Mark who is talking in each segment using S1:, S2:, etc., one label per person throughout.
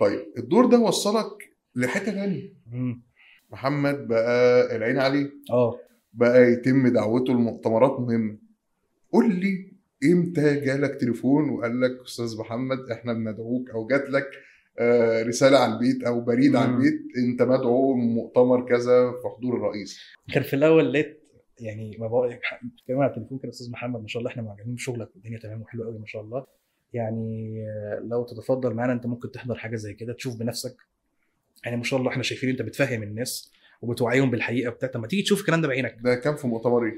S1: طيب الدور ده وصلك لحته ثانيه
S2: مم.
S1: محمد بقى العين عليه
S2: اه
S1: بقى يتم دعوته لمؤتمرات مهمه قول لي امتى جالك تليفون وقال لك استاذ محمد احنا بندعوك او جات لك آه، رساله على البيت او بريد على
S2: مم.
S1: البيت انت مدعو مؤتمر كذا في حضور الرئيس
S2: كان في الاول لقيت يعني ما بقول بتكلم على التليفون كده استاذ محمد ما شاء الله احنا معجبين بشغلك والدنيا تمام وحلوه قوي ما شاء الله يعني آه، لو تتفضل معانا انت ممكن تحضر حاجه زي كده تشوف بنفسك يعني ما شاء الله احنا شايفين انت بتفهم الناس وبتوعيهم بالحقيقه بتاع طب ما تيجي تشوف الكلام ده بعينك
S1: ده كان في مؤتمر ايه؟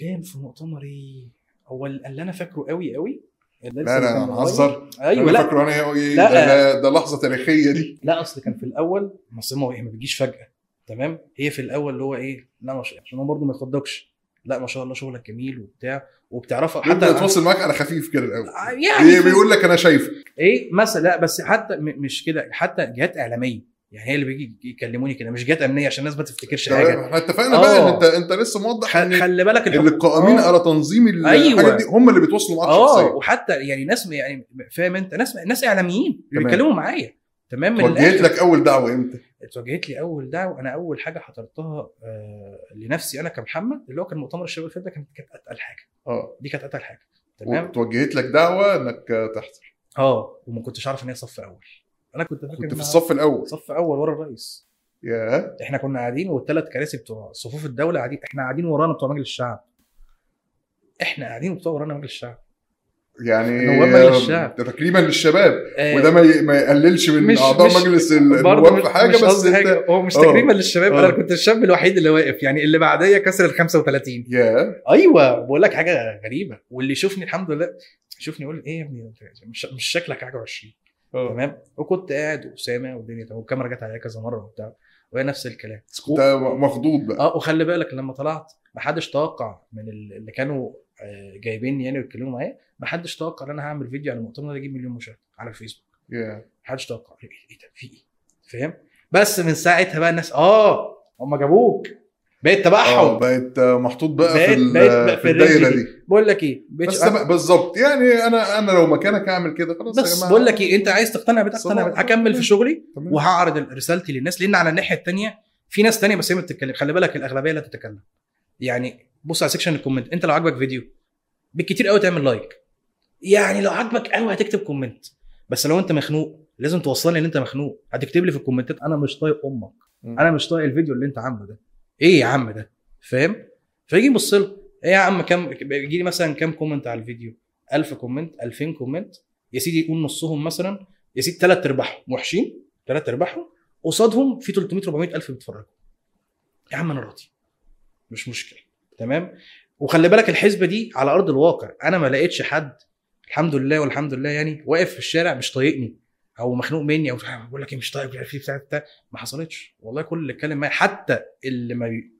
S2: كان في مؤتمر ايه هو اللي انا فاكره قوي قوي اللي
S1: لا
S2: لسه كان
S1: لا
S2: قريب.
S1: هنهزر
S2: ايوه
S1: لا
S2: لا
S1: فاكره انا ايه
S2: لا.
S1: ده, ده, ده لحظه تاريخيه دي
S2: لا اصل كان في الاول مصيمه هي ما بتجيش فجاه تمام هي في الاول اللي هو ايه لا ما شاء الله عشان هو برضه ما يخضكش لا ما شاء الله شغلك جميل وبتاع وبتعرفها
S1: حتى
S2: حتى
S1: يتواصل معاك على خفيف كده الاول
S2: يعني
S1: بي- إيه، بيقول لك انا شايفه
S2: ايه مثلا لا بس حتى م- مش كده حتى جهات اعلاميه يعني هي اللي بيجي يكلموني كده مش جهات امنيه عشان الناس ما تفتكرش حاجه
S1: تمام احنا اتفقنا بقى ان
S2: آه.
S1: انت انت لسه موضح
S2: خ-
S1: ان
S2: خلي بالك
S1: اللي قائمين
S2: آه.
S1: على تنظيم ال-
S2: أيوة.
S1: الحاجات دي هم اللي بيتواصلوا معاك
S2: اه
S1: شخصيا
S2: وحتى يعني ناس يعني فاهم انت ناس ناس اعلاميين اللي
S1: تمام.
S2: بيتكلموا معايا تمام من
S1: وجهت
S2: الآخر.
S1: لك اول دعوه امتى؟
S2: اتواجهت لي اول دعوه انا اول حاجه حضرتها آه، لنفسي انا كمحمد اللي هو كان مؤتمر الشباب الفرد ده كانت كانت اتقل حاجه
S1: اه
S2: دي كانت اتقل حاجه تمام
S1: وتوجهت لك دعوه انك تحضر
S2: اه وما كنتش عارف ان هي صف اول انا كنت فاكر
S1: كنت في
S2: إنها
S1: الصف الاول
S2: صف اول ورا الرئيس
S1: يا
S2: احنا كنا قاعدين والثلاث كراسي بتوع صفوف الدوله قاعدين احنا قاعدين ورانا بتوع مجلس الشعب احنا قاعدين بتوع ورانا مجلس الشعب
S1: يعني
S2: نواب مجلس الشعب.
S1: ده تكريما للشباب
S2: آه،
S1: وده ما ي- ما يقللش من
S2: مش-
S1: اعضاء
S2: مش-
S1: مجلس
S2: برضه
S1: النواب
S2: مش-
S1: في حاجه
S2: مش
S1: بس
S2: قصدي
S1: انت
S2: حاجه هو مش
S1: آه.
S2: تكريما للشباب
S1: آه.
S2: انا كنت الشاب الوحيد اللي واقف يعني اللي بعديا كسر ال 35
S1: يا
S2: ايوه بقول لك حاجه غريبه واللي يشوفني الحمد لله يشوفني يقول ايه يا ابني أنت مش, مش شكلك حاجه 20 تمام وكنت قاعد وسامع والدنيا تمام والكاميرا جت عليا كذا مره وبتاع وهي نفس الكلام و...
S1: انت مخضوض بقى
S2: اه وخلي بالك لما طلعت ما حدش توقع من ال- اللي كانوا آه، جايبيني يعني ويتكلموا معايا ما حدش توقع ان انا هعمل فيديو على المؤتمر ده يجيب مليون مشاهده على الفيسبوك
S1: يا
S2: ما حدش توقع ايه إيه ده في ايه فاهم بس من ساعتها بقى الناس اه هم جابوك بقيت
S1: اه
S2: تبعهم
S1: بقيت محطوط بقى في,
S2: بقيت-
S1: ال-
S2: بقيت بقى في
S1: في الدايره
S2: الرينج
S1: دي
S2: بقول لك ايه بقيتش-
S1: بس بقى- بالظبط يعني انا انا لو مكانك هعمل كده خلاص يا
S2: بس
S1: جماعه
S2: بقول لك ايه انت عايز تقتنع بده اقتنع
S1: صباح
S2: بده هكمل في شغلي
S1: تمام.
S2: وهعرض رسالتي للناس لان على الناحيه الثانيه في ناس تانية بس هي ما بتتكلم خلي بالك الاغلبيه لا تتكلم يعني بص على سيكشن الكومنت انت لو عاجبك فيديو بالكتير قوي تعمل لايك يعني لو عاجبك قوي هتكتب كومنت بس لو انت مخنوق لازم توصلني ان انت مخنوق هتكتب لي في الكومنتات انا مش طايق امك
S1: مم.
S2: انا مش طايق الفيديو اللي انت عامله ده ايه يا عم ده فاهم فيجي يبص له ايه يا عم كام يجي لي مثلا كام كومنت على الفيديو 1000 كومنت 2000 كومنت يا سيدي يقول نصهم مثلا يا سيدي ثلاث ارباعهم وحشين ثلاث ارباعهم قصادهم في 300 400 الف بيتفرجوا يا عم انا راضي مش مشكله تمام وخلي بالك الحسبه دي على ارض الواقع انا ما لقيتش حد الحمد لله والحمد لله يعني واقف في الشارع مش طايقني او مخنوق مني او بقول لك إيه مش طايق مش عارف ايه بتاع بتاع ما حصلتش والله كل اللي اتكلم معايا حتى اللي ما بي...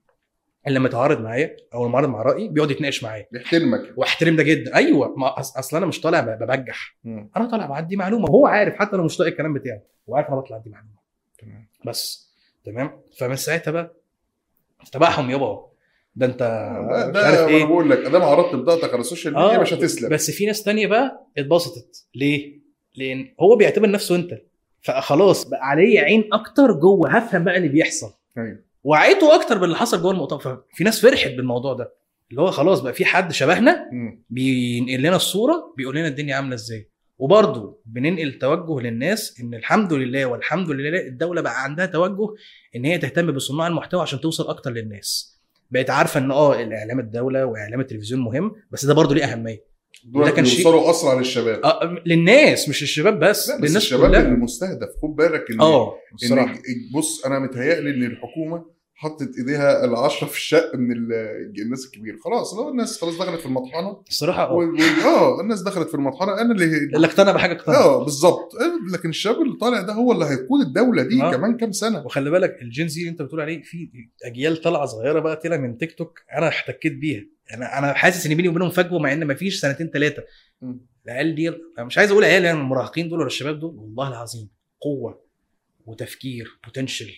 S2: اللي متعارض معايا او المعارض مع رايي بيقعد يتناقش معايا
S1: بيحترمك
S2: واحترم ده جدا ايوه ما أص- اصل انا مش طالع ب- ببجح
S1: مم.
S2: انا طالع بعدي معلومه وهو عارف حتى لو مش طايق الكلام بتاعي وعارف انا بطلع ادي معلومه
S1: تمام.
S2: بس تمام فمن ساعتها بقى تبعهم يابا ده انت
S1: آه،
S2: مش عارف
S1: ده
S2: ايه
S1: انا بقول لك ادام عرضت بضاعتك على السوشيال ميديا
S2: آه،
S1: مش هتسلم
S2: بس في ناس تانية بقى اتبسطت ليه؟ لان هو بيعتبر نفسه انت فخلاص بقى عليه عين اكتر جوه هفهم بقى اللي بيحصل
S1: أيوة.
S2: وعيته اكتر باللي حصل جوه المؤتمر ففي ناس فرحت بالموضوع ده اللي هو خلاص بقى في حد شبهنا
S1: مم.
S2: بينقل لنا الصوره بيقول لنا الدنيا عامله ازاي وبرضه بننقل توجه للناس ان الحمد لله والحمد لله الدوله بقى عندها توجه ان هي تهتم بصناع المحتوى عشان توصل اكتر للناس بقت عارفه ان اه الاعلام الدوله واعلام التلفزيون مهم بس ده برضه ليه اهميه
S1: دول
S2: ده كان شيء-
S1: بيوصلوا اسرع للشباب
S2: آه، للناس مش للشباب بس
S1: لا، بس
S2: للناس
S1: الشباب
S2: كلها
S1: المستهدف خد بالك ان
S2: اه بصراحه
S1: إن بص انا متهيألي ان الحكومه حطت ايديها العشره في الشق من ال- الناس الكبيره خلاص لو الناس خلاص دخلت في المطحنه
S2: الصراحه اه
S1: وال- وال- اه الناس دخلت في المطحنه انا اللي
S2: اللي اقتنع بحاجه اقتنع
S1: اه بالظبط آه، لكن الشاب اللي طالع ده هو اللي هيقود الدوله دي
S2: آه.
S1: كمان كام سنه
S2: وخلي بالك الجين زي اللي انت بتقول عليه في اجيال طالعه صغيره بقى طلع من تيك توك انا احتكيت بيها انا انا حاسس ان بيني وبينهم فجوه مع ان مفيش سنتين ثلاثه
S1: مم.
S2: العيال دي انا مش عايز اقول عيال يعني المراهقين دول ولا الشباب دول والله العظيم قوه وتفكير بوتنشل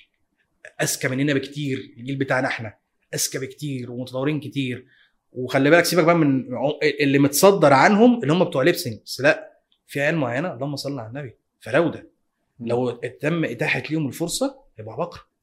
S2: اذكى مننا بكتير الجيل بتاعنا احنا اذكى بكتير ومتطورين كتير وخلي بالك سيبك بقى من اللي متصدر عنهم اللي هم بتوع ليبسينج بس لا في عيال معينه اللهم صل على النبي فراوده لو تم اتاحت ليهم الفرصه هيبقى عباقره